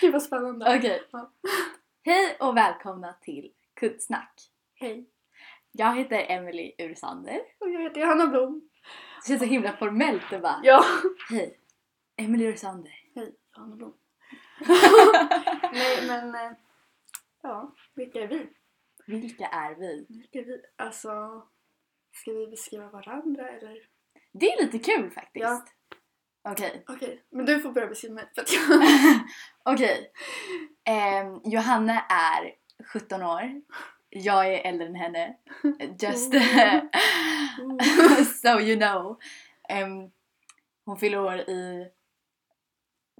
Gud vad spännande. Okej. Ja. Hej och välkomna till Kuddsnack. Hej. Jag heter Emily Ursander. Och jag heter Johanna Blom. Det känns så himla formellt att bara Ja. Hej. Emily Ursander. Hej, Johanna Blom. Nej men, eh, ja, vilka är vi? Vilka är vi? Vilka är vi? Alltså, ska vi beskriva varandra eller? Det är lite kul faktiskt. Ja. Okej. Okej, men du får börja beskriva mig för att jag... Okej. Ehm, Johanna är 17 år. Jag är äldre än henne. Just Mm. so you know. Ehm, hon fyller år i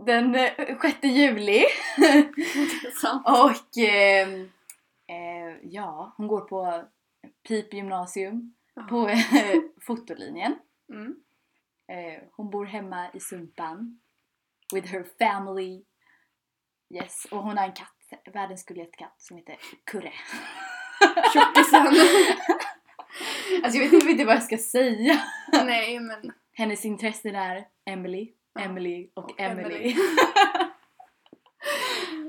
den eh, 6 juli. Intressant. Och ehm, eh, ja, hon går på Pip gymnasium på eh, fotolinjen. Mm. Eh, hon bor hemma i Sumpan. With her family. Yes, och hon har en katt. Världens gulligaste katt som heter Kurre. Tjockisen. Alltså jag vet inte vad jag ska säga. Nej men. Hennes intressen är Emily, Ja. Emily och, Och Emily. Emily.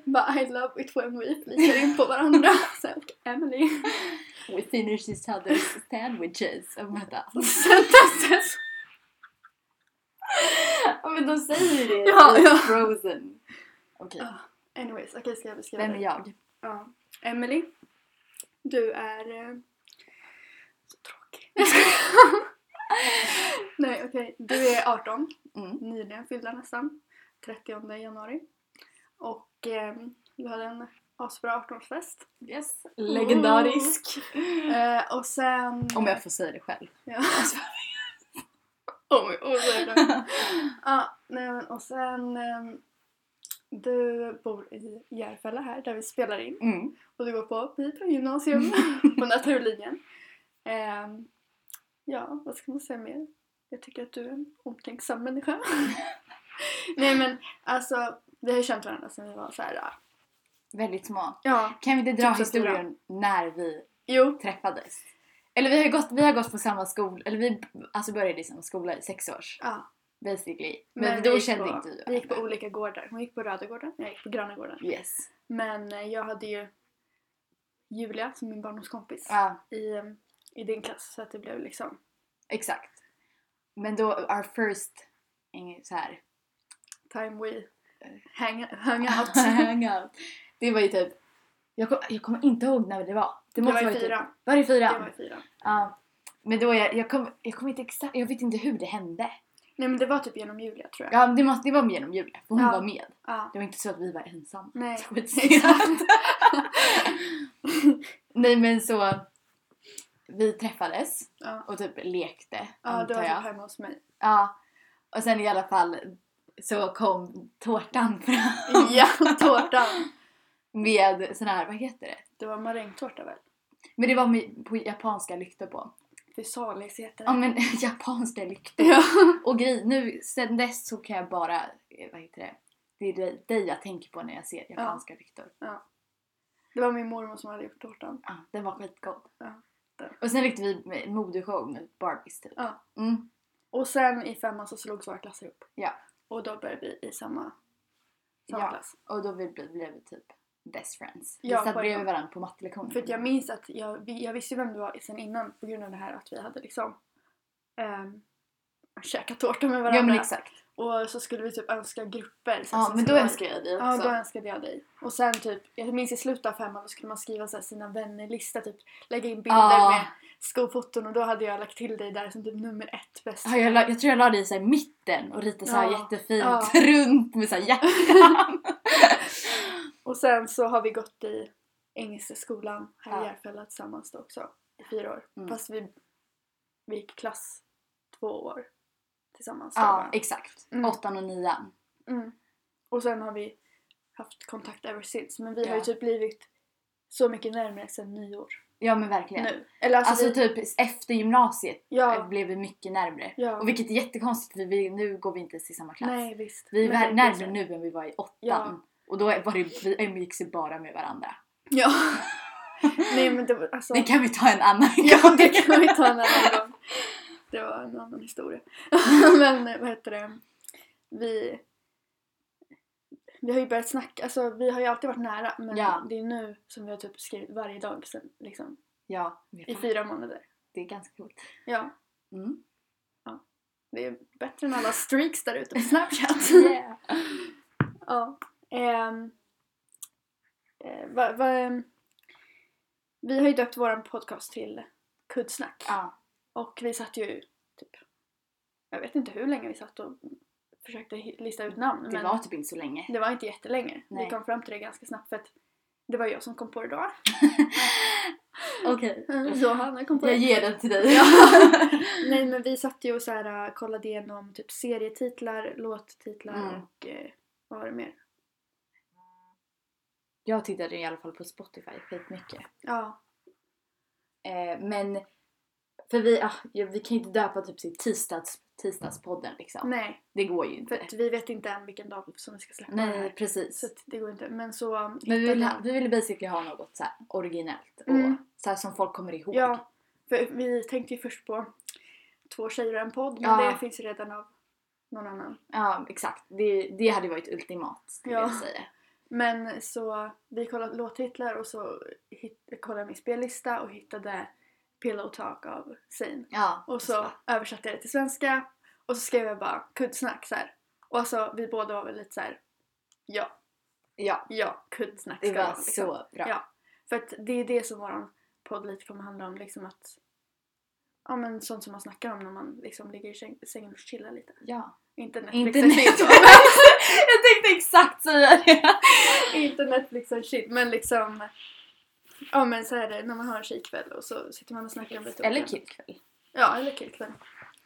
Bara I love it when we flikar in på varandra. Så, här, och Emily. We finish each other's sandwiches. Och vänta. Sentences. Ja men de säger det Ja, i ja. Frozen. Okej, Ja. Anyways, okej ska jag beskriva vem är dig? jag? Ja. Emily. Du är... eh, Så tråkig. Nej okej, du är 18. Mm. Nyligen fyllda nästan. 30 januari. Och ehm, du hade en asbra 18-årsfest. Yes. Legendarisk. Eh, och sen... Mm. Om jag får säga det själv. Ja. Oj, oj, oj, oj. Ja, nej men och sen... ehm, du bor i Järfälla här där vi spelar in. Mm. Och du går på Pipa gymnasium på naturlinjen. Ehm, ja, vad ska man säga mer? Jag tycker att du är en omtänksam människa. Nej men alltså, vi har ju känt varandra sedan vi var så här. ja. Väldigt små. Ja, Kan vi inte dra Typ så stora. historien när vi jo. träffades? Eller vi har ju gått, vi har gått på samma skola, eller vi alltså började i samma skola i sex års Ja. basically. Men, vi då gick kände på, inte vi Vi gick på olika gårdar. Hon gick på Röda gården, jag gick på Gröna gården. Yes. Men eh, jag hade ju Julia som min barndomskompis Ja, i, eh, i din klass så att det blev liksom exakt. Men då, our first, ing- så här, time we Eh. hang, hung out. hangout. Det var ju typ, jag, kom, jag kommer inte ihåg när det var. det var i vara Typ, fyran. var det Det fyra? var i fyran. Ja. Men då, jag, jag kommer jag kom inte exakt, jag vet inte hur det hände. Nej men det var typ genom Julia tror jag. Ja, det, måste, det var genom Julia, för hon Ja. var med. Ja. Det var inte så att vi var ensamma. Nej. Så skitsynd. Nej men så, vi träffades Ja. och typ lekte Ja, du antar var typ jag. hemma hos mig. Ja. Och sen i alla fall så kom tårtan fram Ja, tårtan. med sån här, vad heter det? Det var marängtårta väl? Men det var med, på japanska lyktor på. Fysalis heter Ja det. men japanska lyktor. Ja. Och grej, nu sen dess så kan jag bara, eh, vad heter det? Det är dig- dig jag tänker på när jag ser japanska lyktor. Det var min mormor som hade gjort tårtan. Ja, den var skitgod. Ja, den. Och sen lekte vi med modeshow med Barbies typ. Ja. Mm. Och sen i femman så slogs våra klasser ihop. Ja. Och då började vi i samma, samma ja. klass. Och då blev blev vi typ best friends. Vi Ja, satt på bredvid en- varandra på mattelektionen. För att jag minns att jag, vi- jag visste ju vem du var sen innan på grund av det här att vi hade liksom um, käkat tårta med Ja varandra. men exakt. och så skulle vi typ önska grupper. så Ja som men skulle då vara- önskar jag dig Ja, också. då önskade jag dig. Och sen typ, jag minns i slutet av femman då skulle man skriva så här sina vännerlista, typ lägga in bilder Ja. med skofoton och då hade jag lagt till dig där som typ nummer ett bäst. Ja, jag, la, jag tror jag la dig så här i mitten och ritade så Ja. här jättefint Ja. runt med så här hjärtan. Och sen så har vi gått i Engelska skolan här Ja. i Järfälla tillsammans då också i fyra år. Mm. Fast vi, vi gick klass två år tillsammans. där ja bara. exakt. Mm. Åttan och nian. Mm. Och sen har vi haft kontakt ever since. Men vi har ju Ja. typ blivit så mycket närmare sen nyår. Ja men verkligen. Nu. Eller alltså, Alltså vi, typ efter gymnasiet eh, ja, blev vi mycket närmre. ja. Och vilket är jättekonstigt för vi, nu går vi inte ens i samma klass. Nej visst. Vi är Men vär- det så närmare här. nu än vi var i åttan. Ja. Och då var det, vi umgicks ju bara med varandra. Ja. Nej men det var alltså... Det kan vi ta en annan Ja, gång. det kan vi ta en annan gång. Det var en annan historia. Men eh, vad heter det? Vi, vi har ju börjat snacka, alltså vi har ju alltid varit nära men Ja. det är nu som vi har typ skrivit varje dag sen, liksom, Ja, vi i fattar. fyra månader. det är ganska coolt. Ja, Mm. det är bättre än alla streaks där ute på Snapchat. Yeah. ja. Ehm, eh, vad- vad, ehm, vi har ju döpt vår podcast till Kuddsnack. Ja, Och vi satt ju typ, jag vet inte hur länge vi satt och försökte hi- lista ut namn. det men var typ inte så länge. det var inte jättelänge. Nej. Vi kom fram till det ganska snabbt för att det var jag som kom på det då. Okej. Johanna kom på Mm. det. Jag ger den till dig. Nej men vi satt ju och så här, äh, kollade igenom typ serietitlar, låttitlar Mm. och eh, vad var det mer? Jag tittade i alla fall på Spotify skitmycket. Ja, Eh, men, för vi, ah, ja, vi kan ju inte döpa typ till tisdags, tisdagspodden liksom. nej. Det går ju Mm. För inte. att vi vet inte än vilken dag som vi ska släppa det Nej, här. precis. Så att det går inte. Men så um, Men vi hittade vill, jag- ha, vi vill basically ha något så här originellt och Mm. så här som folk kommer ihåg. Ja, för vi tänkte ju först på två tjejer och en podd, men Ja. det finns ju redan av någon annan. Ja, exakt. Det, det hade varit ultimat skulle Ja. jag säga. Men så vi kollade låttitlar och så hit, kollade min spellista och hittade Pillow Talk av Zayn. Ja, Och så översatte jag det till svenska och så skrev jag bara kuddsnack så här. Och alltså vi båda var väl lite så här. ja, Ja, ja, kuddsnack det ska var vara, liksom. så bra. Ja. För att det är det som våran podd lite kommer handla om, liksom att Ja men sånt som man snackar om när man liksom ligger i säng- sängen och chillar lite. Ja. Inte Netflix Inte and Netflix. chill. jag tänkte exakt säga det. inte Netflix and shit men liksom Ja men så är det när man har en tjejkväll och så sitter man och snackar om lite Eller olika- killkväll. Ja eller killkväll.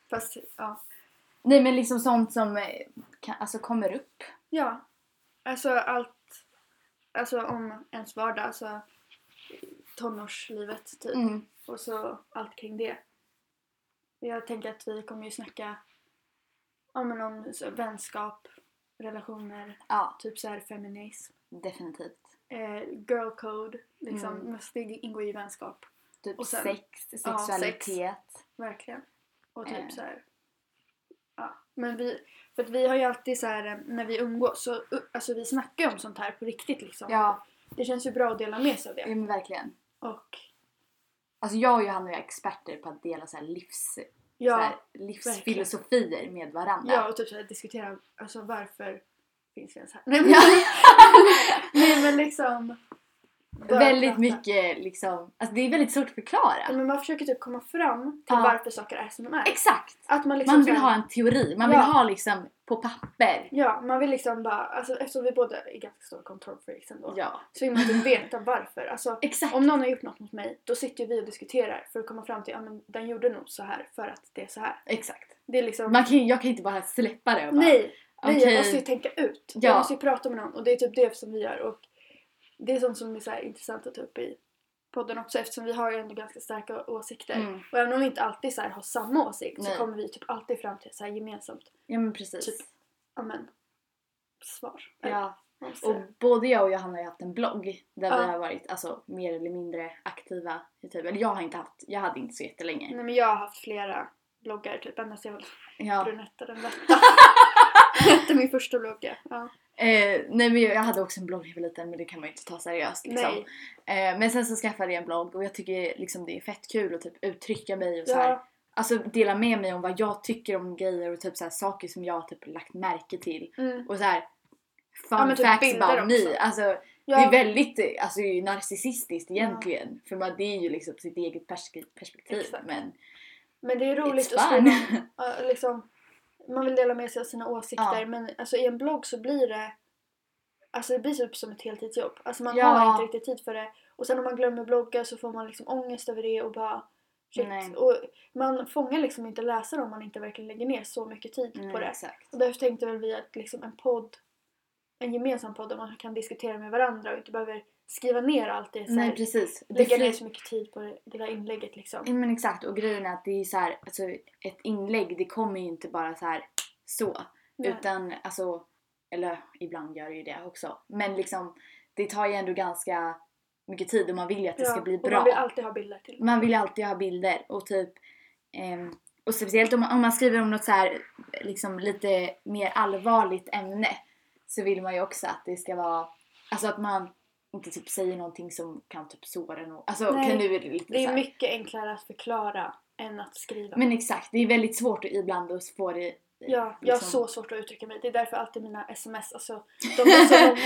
Fast ja. Nej men liksom sånt som eh, kan, alltså kommer upp. Ja. Alltså allt Alltså om ens vardag, alltså tonårslivet typ. Mm. Och så allt kring det. Jag tänker att vi kommer ju snacka ja, men om så, vänskap, relationer, Ja, typ så här feminism, definitivt. eh, girl code, liksom. Mm. Mm. Det ingår ju i vänskap, Typ Och sen- sex, ja, sex. sexualitet. verkligen. Och typ Eh. så här. Ja, men vi, för att vi har ju alltid så här eh, när vi umgås så u- alltså vi snackar ju om sånt här på riktigt liksom. Ja, Mm. Det känns ju bra att dela med sig av ja, det. men verkligen. Och Alltså jag och Johanna är experter på att dela så här livs, så ja, här, livsfilosofier med varandra. ja och typ så här diskutera alltså varför finns vi ens här? Nej, men- Ja. Nej men liksom... bara väldigt prata. mycket liksom, alltså det är väldigt svårt att förklara. Ja, Men man försöker typ komma fram till Ja. varför saker är som de är. Exakt! Att man liksom Man vill så här- ha en teori, man vill Ja. ha liksom på papper. Ja, man vill liksom bara... Alltså, eftersom vi båda är ganska stora kontrollfreaks ändå. Ja, Så vill man typ veta varför. Alltså, exakt! om någon har gjort något mot mig, då sitter ju vi och diskuterar för att komma fram till att men den gjorde nog så här för att det är så här. Exakt. Det är liksom... Man kan, jag kan inte bara släppa det och bara, nej! Nej, okej. jag måste ju tänka ut. Ja. Jag måste ju prata med någon och det är typ det som vi gör. Och det är sånt som är så här intressant att ta upp i podden också eftersom vi har ju ändå ganska starka åsikter. Mm. Och även om vi inte alltid så här har samma åsikt Nej. så kommer vi typ alltid fram till så här gemensamt Ja men precis. Typ. amen, svar. Eller, Ja. vad man ska Och säga. både jag och Johanna har ju haft en blogg där Ja. vi har varit alltså, mer eller mindre aktiva. i Typ. Eller jag har inte haft, jag hade inte så jättelänge. Nej men jag har haft flera bloggar typ ända sedan jag var Ja. brunetta den lätta. Hette min första blogg ja. ja. Eh, nej men jag hade också en blogg när jag var liten men det kan man ju inte ta seriöst liksom. Nej. Eh, men sen så skaffade jag en blogg och jag tycker liksom det är fett kul att typ uttrycka mig och så här. Ja. Alltså dela med mig om vad jag tycker om grejer och typ så här, saker som jag typ lagt märke till. Mm. Och så här, fun Ja, men typ facts bilder about me. också. Alltså, Ja. Det är väldigt eh, alltså, det är ju narcissistiskt egentligen. För man, det är ju liksom sitt eget persk- perspektiv. Exakt. Men Men det är roligt it's att skriva fun. Ja, liksom, man vill dela med sig av sina åsikter Ja. men alltså, i en blogg så blir det Alltså det blir typ som ett heltidsjobb. Alltså man Ja. har inte riktigt tid för det. Och sen om man glömmer blogga så får man liksom ångest över det och bara shit. Nej. Och man fångar liksom inte läsare om man inte verkligen lägger ner så mycket tid Nej, på det. Mm, Exakt. Och därför tänkte väl vi att liksom en podd, en gemensam podd där man kan diskutera med varandra och inte behöver skriva ner allt det. Så Nej här, precis. Det Mm. lägga fly- ner så mycket tid på det, det där inlägget liksom. Ja, men exakt och grejen är att det är ju så här, alltså, ett inlägg det kommer ju inte bara så här så. Nej. Utan alltså, eller ibland gör det ju det också. Men liksom det tar ju ändå ganska mycket tid och man vill ju att det ska Ja, bli och bra. Man vill alltid ha bilder till. Man vill ju alltid ha bilder och typ ehm, och speciellt om man, om man skriver om något så här liksom lite mer allvarligt ämne så vill man ju också att det ska vara alltså att man inte typ säger någonting som kan typ såra någon. Alltså Nej, kan du Det lite så är här. mycket enklare att förklara än att skriva. Men exakt, det är väldigt svårt att ibland att få det eh, ja, jag har liksom- så svårt att uttrycka mig. Det är därför alltid mina sms, alltså, de är så långa.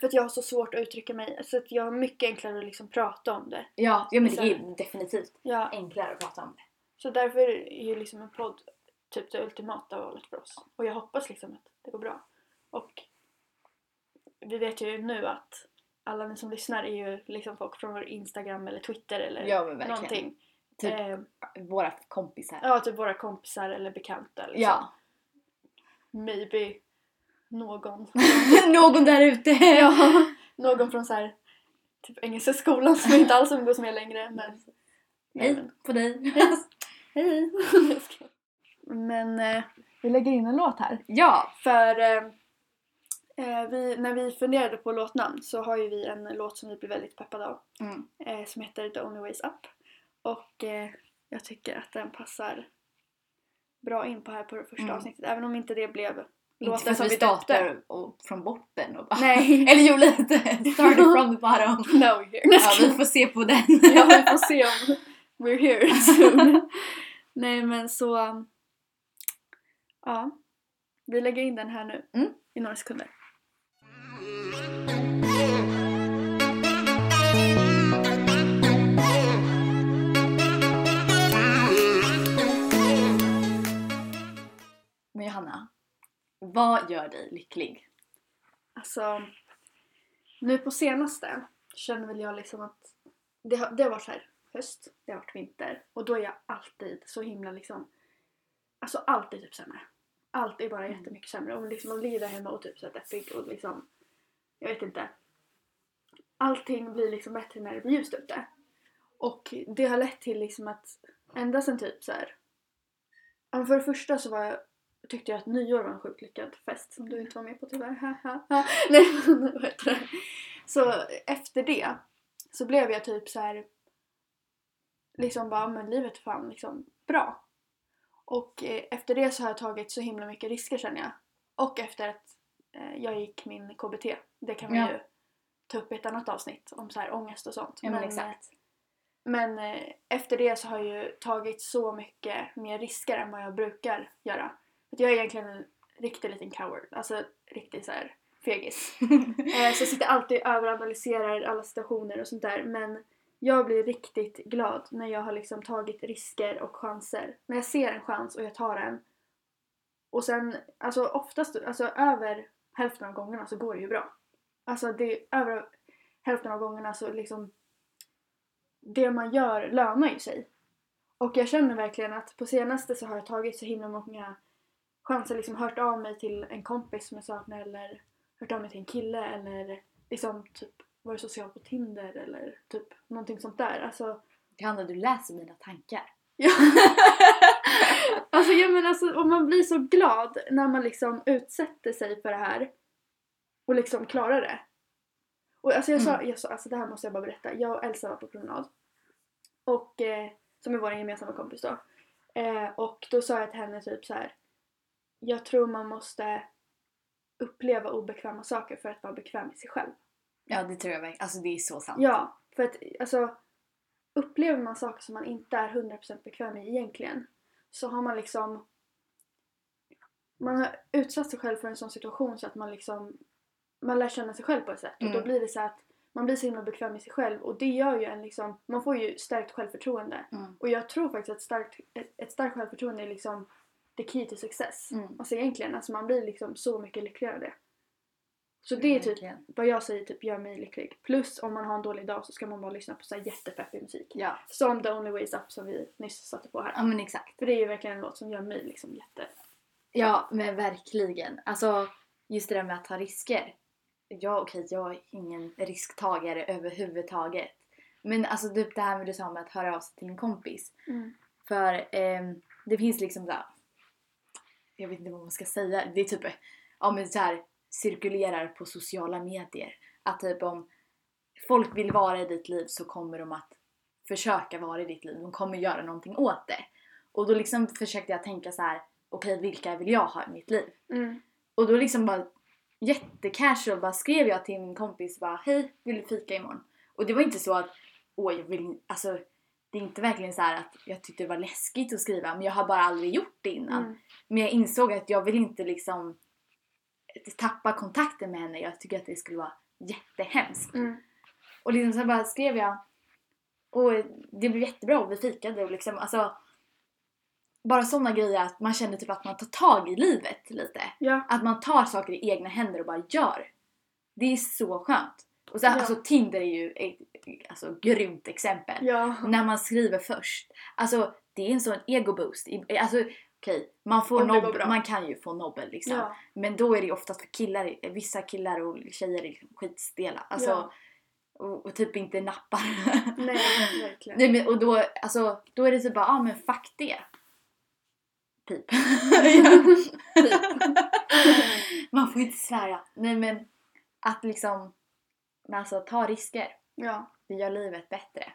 För att jag har så svårt att uttrycka mig. Så att jag har mycket enklare att liksom prata om det. Ja, ja men det Så är här. ju definitivt Ja, enklare att prata om det. så därför är ju liksom en podd typ det ultimata valet för oss. Och jag hoppas liksom att det går bra. Och vi vet ju nu att alla ni som lyssnar är ju liksom folk från vår Instagram eller Twitter eller Ja, men verkligen. någonting. Typ Eh, våra kompisar. ja, typ våra kompisar eller bekanta. Liksom. Ja. Maybe någon. Någon där ute! ja, någon från så här typ Engelska skolan som jag inte alls umgås med längre. Men, Hej på dig! hej! men eh, vi lägger in en låt här. Ja! För eh, eh, vi, när vi funderade på låtnamn så har ju vi en låt som vi blir väldigt peppade av Mm. eh, som heter The Only Ways Up. Och eh, jag tycker att den passar bra in på här på det första Mm. avsnittet. Även om inte det blev Inte för låten att som vi vi döpte. startar och, från botten och bara... Nej, Eller jo lite! Started from the bottom. no here. Ja, vi får se på den. ja, vi får se om we're here soon. Nej men så... um, Ja. Vi lägger in den här nu. Mm. I några sekunder. Men Johanna, vad gör dig lycklig? Alltså... Nu på senaste känner väl jag liksom att det har, det har varit så här höst, det har varit vinter och då är jag alltid så himla liksom Alltså allt är typ sämre. Allt är bara Mm. jättemycket sämre. Och liksom man ligger där hemma och typ så här deppig och liksom Jag vet inte. Allting blir liksom bättre när det blir ljust ute. Och det har lett till liksom att ända sen typ så här. ja, men För det första så var jag, tyckte jag att nyår var en sjukt lyckad fest som du inte var med på tyvärr. Nej men vad heter det? Så efter det så blev jag typ så här liksom bara, men livet är fan liksom bra. Och eh, efter det så har jag tagit så himla mycket risker känner jag. Och efter att eh, jag gick min KBT, det kan vi Ja. ju ta upp i ett annat avsnitt om så här ångest och sånt. Ja, men eh, exakt. men eh, efter det så har jag ju tagit så mycket mer risker än vad jag brukar göra. Att jag är egentligen en riktig liten coward, alltså riktig så här fegis. Eh, Så jag sitter alltid och överanalyserar alla situationer och sånt där. Men jag blir riktigt glad när jag har liksom tagit risker och chanser. När jag ser en chans och jag tar den. Och sen, alltså oftast, alltså över hälften av gångerna så går det ju bra. Alltså det, över hälften av gångerna så liksom det man gör lönar ju sig. Och jag känner verkligen att på senaste så har jag tagit så himla många chanser, liksom hört av mig till en kompis som jag saknar eller hört av mig till en kille eller liksom typ varit social på Tinder eller typ någonting sånt där. Alltså, Johanna, du läser mina tankar. ja. alltså jag menar alltså, om man blir så glad när man liksom utsätter sig för det här och liksom klarar det. Och alltså jag sa, jag sa alltså det här måste jag bara berätta. Jag och Elsa var på promenad. Och, eh, som är vår gemensamma kompis då. Eh, och då sa jag till henne typ så här. Jag tror man måste uppleva obekväma saker för att vara bekväm i sig själv. Ja, det tror jag verkligen. Alltså det är så sant. Ja, för att alltså upplever man saker som man inte är 100% bekväm i egentligen så har man liksom man har utsatt sig själv för en sån situation så att man liksom man lär känna sig själv på ett sätt och Mm. då blir det så att man blir så himla bekväm i sig själv och det gör ju en liksom man får ju starkt självförtroende Mm. och jag tror faktiskt att starkt, ett, ett starkt självförtroende är liksom the key to success. Mm. Alltså egentligen, alltså man blir liksom så mycket lyckligare av det. Mm. Så det är typ Verkligen. vad jag säger typ gör mig lycklig. Plus om man har en dålig dag så ska man bara lyssna på så här jättepeppig musik. Ja. Som The Only Ways Up som vi nyss satte på här. ja, men exakt. För det är ju verkligen en låt som gör mig liksom jätte... Ja, men verkligen. Alltså, just det där med att ta risker. Ja, okej, jag är ingen risktagare överhuvudtaget. Men alltså typ det här med du sa med att höra av sig till en kompis. Mm. För ehm, det finns liksom såhär, jag vet inte vad man ska säga, det är typ, ja men såhär cirkulerar på sociala medier. Att typ om folk vill vara i ditt liv så kommer de att försöka vara i ditt liv. De kommer göra någonting åt det. Och då liksom försökte jag tänka så här: okej vilka vill jag ha i mitt liv? Mm. Och då liksom bara jättecasual bara skrev jag till min kompis bara hej vill du fika imorgon? Och det var inte så att åh jag vill alltså det är inte verkligen så här att jag tyckte det var läskigt att skriva men jag har bara aldrig gjort det innan. Mm. Men jag insåg att jag vill inte liksom tappa kontakten med henne. Jag tycker att det skulle vara jättehemskt. Mm. Och liksom så bara skrev jag och det blev jättebra och vi fikade och liksom alltså bara sådana grejer att man känner typ att man tar tag i livet lite. Ja. Att man tar saker i egna händer och bara gör. Det är så skönt. Och sen, Ja. alltså Tinder är ju ett alltså, grymt exempel. Ja. När man skriver först. Alltså det är en sån egoboost. I- Alltså okej, man får Om det går nobb, bra. man kan ju få nobben liksom. Ja. Men då är det ju oftast för killar, vissa killar och tjejer är liksom skitstela. Alltså, Ja. och, och typ inte nappar. Nej, verkligen. Nej men och då, alltså, då är det typ bara, ja ah, men fuck det. Typ. Pip. Man får inte svära. Nej men att liksom, men alltså ta risker. Ja. Det gör livet bättre.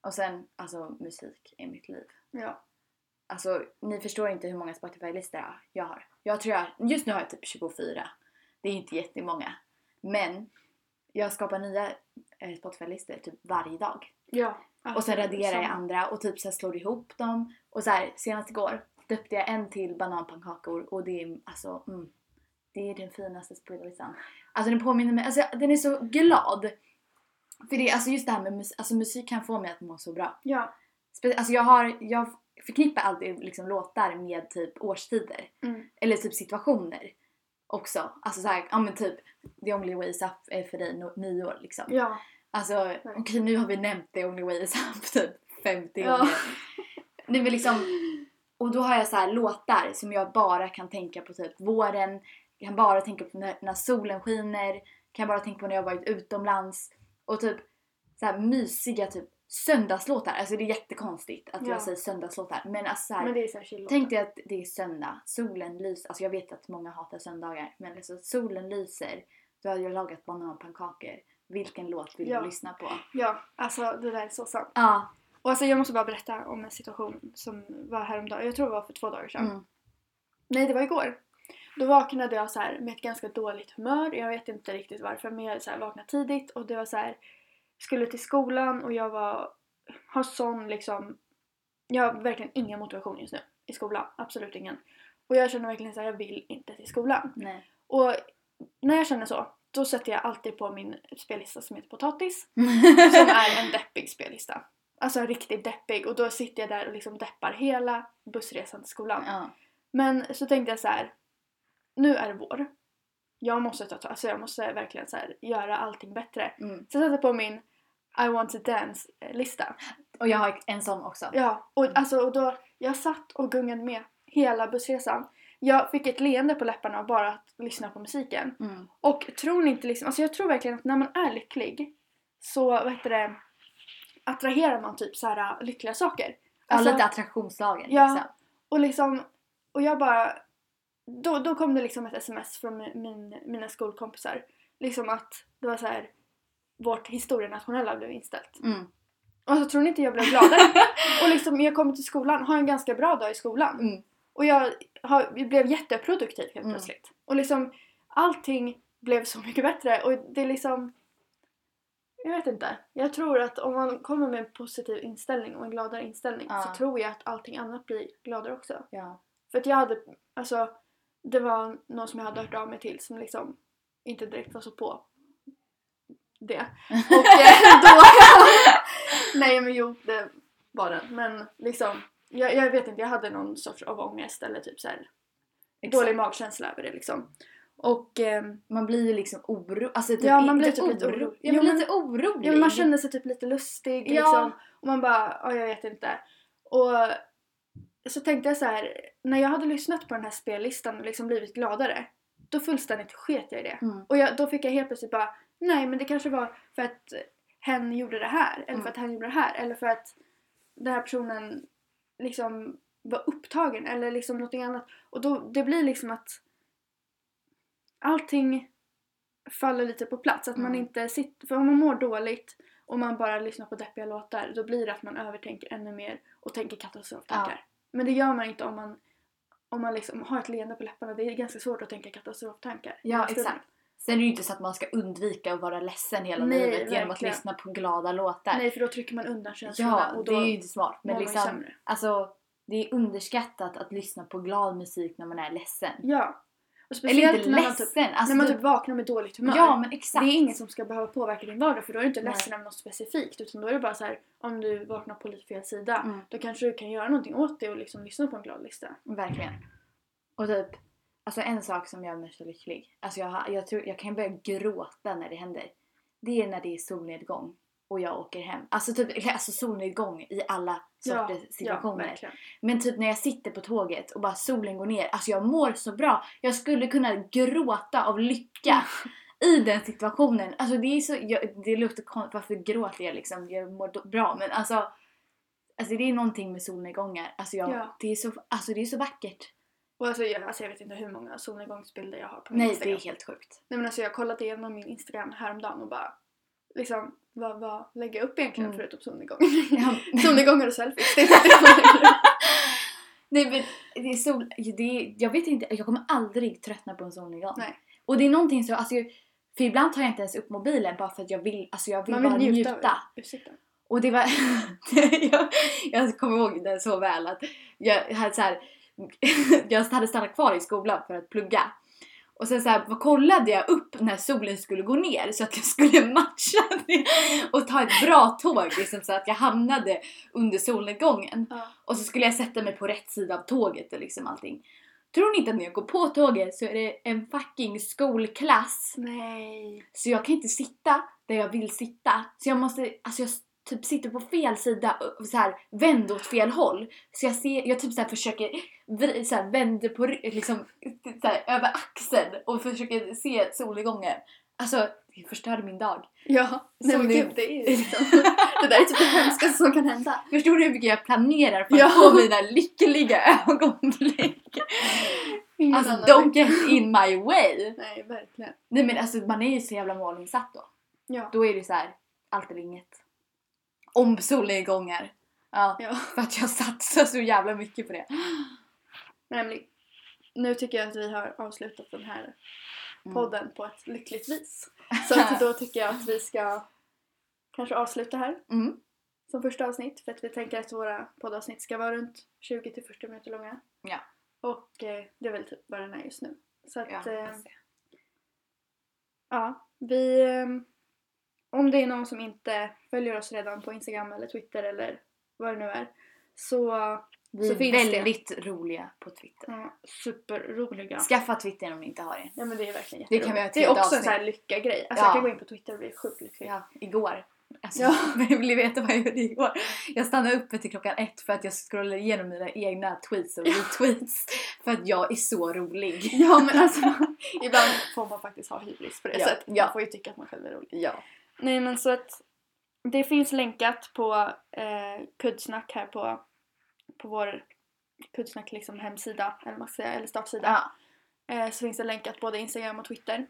Och sen, alltså musik är mitt liv. Ja. Alltså ni förstår inte hur många Spotify-listor jag har. Jag tror jag, just nu har jag typ 24. Det är inte jättemånga. Men jag skapar nya eh, Spotify-listor typ varje dag. Ja. Och sen Absolut, liksom. raderar jag samma. andra och typ så här slår ihop dem. Och så här, senast igår döpte jag en till bananpannkakor och det är alltså, mm, det är den finaste spellistan. Alltså den påminner mig, alltså den är så glad. För det, alltså just det här med musik, alltså musik kan få mig att må så bra. Ja. Spe- alltså jag har, jag förknippar alltid liksom låtar med typ årstider. Mm. Eller typ situationer också. Alltså såhär, ja men typ the only way is up är för dig no, nyår liksom. Ja. Alltså okej nu har vi nämnt the only way is up typ 50 Ja. gånger. Nej men liksom, och då har jag så här låtar som jag bara kan tänka på typ våren, kan bara tänka på när, när solen skiner, kan bara tänka på när jag varit utomlands och typ så här mysiga typ söndagslåtar. Alltså det är jättekonstigt att Ja. jag säger söndagslåtar men alltså så här, Men det är så här chill. Tänk dig att det är söndag, solen lyser. Alltså jag vet att många hatar söndagar men alltså solen lyser. Du har ju lagat bananpannkakor. Vilken låt vill Ja. du lyssna på? Ja, alltså det där är så sant. Ja. Och alltså jag måste bara berätta om en situation som var häromdagen. Jag tror det var för två dagar sedan. Mm. Nej, det var igår. Då vaknade jag så här med ett ganska dåligt humör. Jag vet inte riktigt varför men jag så här vaknade tidigt och det var så här skulle till skolan och jag var har sån liksom jag har verkligen ingen motivation just nu i skolan, absolut ingen. Och jag känner verkligen så här jag vill inte till skolan. Nej. Och när jag känner så, då sätter jag alltid på min spellista som heter Potatis. Som är en deppig spellista. Alltså en riktigt deppig. Och då sitter jag där och liksom deppar hela bussresan till skolan. ja. Men så tänkte jag så här. Nu är det vår. Jag måste ta tag, alltså jag måste verkligen så här, göra allting bättre. Mm. Så jag satte på min I want to dance-lista. Och jag har en sån också. Ja, och, alltså, och då, jag satt och gungade med hela bussresan. Jag fick ett leende på läpparna av bara att lyssna på musiken. Mm. Och tror ni inte liksom, alltså jag tror verkligen att när man är lycklig så vad heter det, attraherar man typ så här äh, lyckliga saker. Ja, Alltså, lite attraktionslagen Ja. liksom. och liksom, och jag bara, då, då kom det liksom ett sms från mi- min, mina skolkompisar. Liksom att det var så här vårt historienationella blev inställt. Mm. Alltså tror ni inte jag blev gladare? och liksom jag kommer till skolan, har en ganska bra dag i skolan. Mm. Och jag har, blev jätteproduktiv helt Mm. plötsligt. Och liksom allting blev så mycket bättre och det är liksom... Jag vet inte. Jag tror att om man kommer med en positiv inställning och en gladare inställning Ja. så tror jag att allting annat blir gladare också. Ja. För att jag hade, alltså det var någon som jag hade hört av mig till som liksom inte direkt var så på det. Och eh, då... Nej men jo, det var den. Men liksom, jag, jag vet inte, jag hade någon sorts av ångest eller typ så här dålig Exakt. magkänsla över det liksom. Och ehm, Man blir ju liksom oro... Alltså typ Ja, man inte blir typ lite oro- Ja, Jo, men men- lite orolig. ja, men man känner sig typ lite lustig Ja. liksom. Och man bara, ja jag vet inte. Och så tänkte jag så här, när jag hade lyssnat på den här spellistan och liksom blivit gladare, då fullständigt sket jag i det. Mm. Och jag, då fick jag helt plötsligt bara, nej men det kanske var för att hen gjorde det här, eller Mm. för att han gjorde det här, eller för att den här personen liksom var upptagen eller liksom någonting annat. Och då, det blir liksom att allting faller lite på plats. Att man Mm. inte sitter, för om man mår dåligt och man bara lyssnar på deppiga låtar då blir det att man övertänker ännu mer och tänker katastroftankar. Men det gör man inte om man, om man liksom har ett leende på läpparna. Det är ganska svårt att tänka katastroftankar. Ja, Förstår du? exakt. Sen är det ju inte så att man ska undvika att vara ledsen hela Nej, livet genom att verkligen. lyssna på glada låtar. Nej, för då trycker man undan känslorna ja, och då det är ju mår inte smart. Men man ju liksom, sämre. alltså, det är underskattat att lyssna på glad musik när man är ledsen. Ja. Och Eller speciellt inte när man, typ, ledsen, alltså när man du- typ vaknar med dåligt humör. Ja, men exakt. Det är inget som ska behöva påverka din vardag för då är du inte Nej. ledsen över något specifikt utan då är det bara så här om du vaknar på lite fel sida Mm. då kanske du kan göra någonting åt det och liksom lyssna på en glad lista. Verkligen. Och typ, alltså en sak som gör mig så lycklig. Alltså jag, har- jag, tror, jag kan börja gråta när det händer. Det är när det är solnedgång och jag åker hem. Alltså, typ, alltså solnedgång i alla sorters situationer. verkligen. Men typ när jag sitter på tåget och bara solen går ner, alltså jag mår så bra. Jag skulle kunna gråta av lycka i den situationen. Alltså det är så, jag, det låter konstigt, varför gråter jag liksom? Jag mår då- bra men alltså, alltså det är någonting med solnedgångar. Alltså, jag, Ja. det, är så, alltså det är så vackert. Och alltså jag, alltså jag vet inte hur många solnedgångsbilder jag har på min Nej det Instagram. är helt sjukt. Nej men alltså jag har kollat igenom min Instagram häromdagen och bara liksom vad, vad lägger jag upp egentligen Mm. förutom solnedgång? Ja. solnedgångar och selfies. Det är inte det. Nej men det är sol, det är, jag vet inte, jag kommer aldrig tröttna på en solnedgång. Nej. Och det är någonting så, alltså, för ibland tar jag inte ens upp mobilen bara för att jag vill, alltså jag vill, Man vill bara njuta. av njuta. det. Ursäkta. Och det var... jag, jag kommer ihåg det så väl att jag hade, så här, jag hade stannat kvar i skolan för att plugga. Och sen så här, vad kollade jag upp när solen skulle gå ner så att jag skulle matcha det och ta ett bra tåg liksom, så att jag hamnade under solnedgången. Ja. Och så skulle jag sätta mig på rätt sida av tåget och liksom allting. Tror ni inte att när jag går på tåget så är det en fucking skolklass Nej. så jag kan inte sitta där jag vill sitta. Så jag måste, alltså jag s- typ sitter på fel sida och så här vänd åt fel håll. Så jag ser, jag typ så här försöker vri, så här vänder på ry- liksom så här, över axeln och försöker se solnedgången. Alltså det förstörde min dag. Ja. Nej men Solnedgång. gud det är ju liksom. Det där är typ det hemskaste som kan hända. Förstår du hur mycket jag planerar för att Ja. få mina lyckliga ögonblick? Ingen Alltså annan don't lycka. get in my way! Nej, verkligen. Nej men alltså man är ju så jävla målinsatt då. Ja. Då är det så här, allt eller inget. Om solnedgångar. Ja. ja. För att jag satsar så jävla mycket på det. Men Emily, nu tycker jag att vi har avslutat den här Mm. podden på ett lyckligt vis. Så att då tycker jag att vi ska kanske avsluta här Mm. som första avsnitt för att vi tänker att våra poddavsnitt ska vara runt 20 till 40 minuter långa. Ja. Och eh, det är väl typ vad den är just nu. Så att, Ja, ja, eh, får se. ja vi... Eh, om det är någon som inte följer oss redan på Instagram eller Twitter eller vad det nu är så Vi så är finns det. väldigt roliga på Twitter. ja, superroliga. Skaffa Twitter om ni inte har det. Ja men det är verkligen Det jätteroligt. kan vi göra till det är ett också en avsnitt. sån här lycka-grej. Alltså Ja. jag kan gå in på Twitter och bli sjukt lycklig. Ja, igår. Alltså, Ja. jag vill veta vad jag gjorde igår. Jag stannade uppe till klockan ett för att jag scrollade igenom mina egna tweets och retweets. För att jag är så rolig. Ja men alltså ibland får man faktiskt ha hybris på det Ja, sättet. Man ja. får ju tycka att man själv är rolig. Ja. Nej men så att det finns länkat på eh, Kuddsnack här på, på vår Kuddsnack liksom hemsida eller, vad man ska säga, eller startsida. ja. Eh, så finns det länkat både Instagram och Twitter.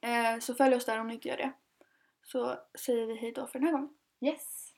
Eh, så följ oss där om ni inte gör det. Så säger vi hejdå för den här gången. Yes.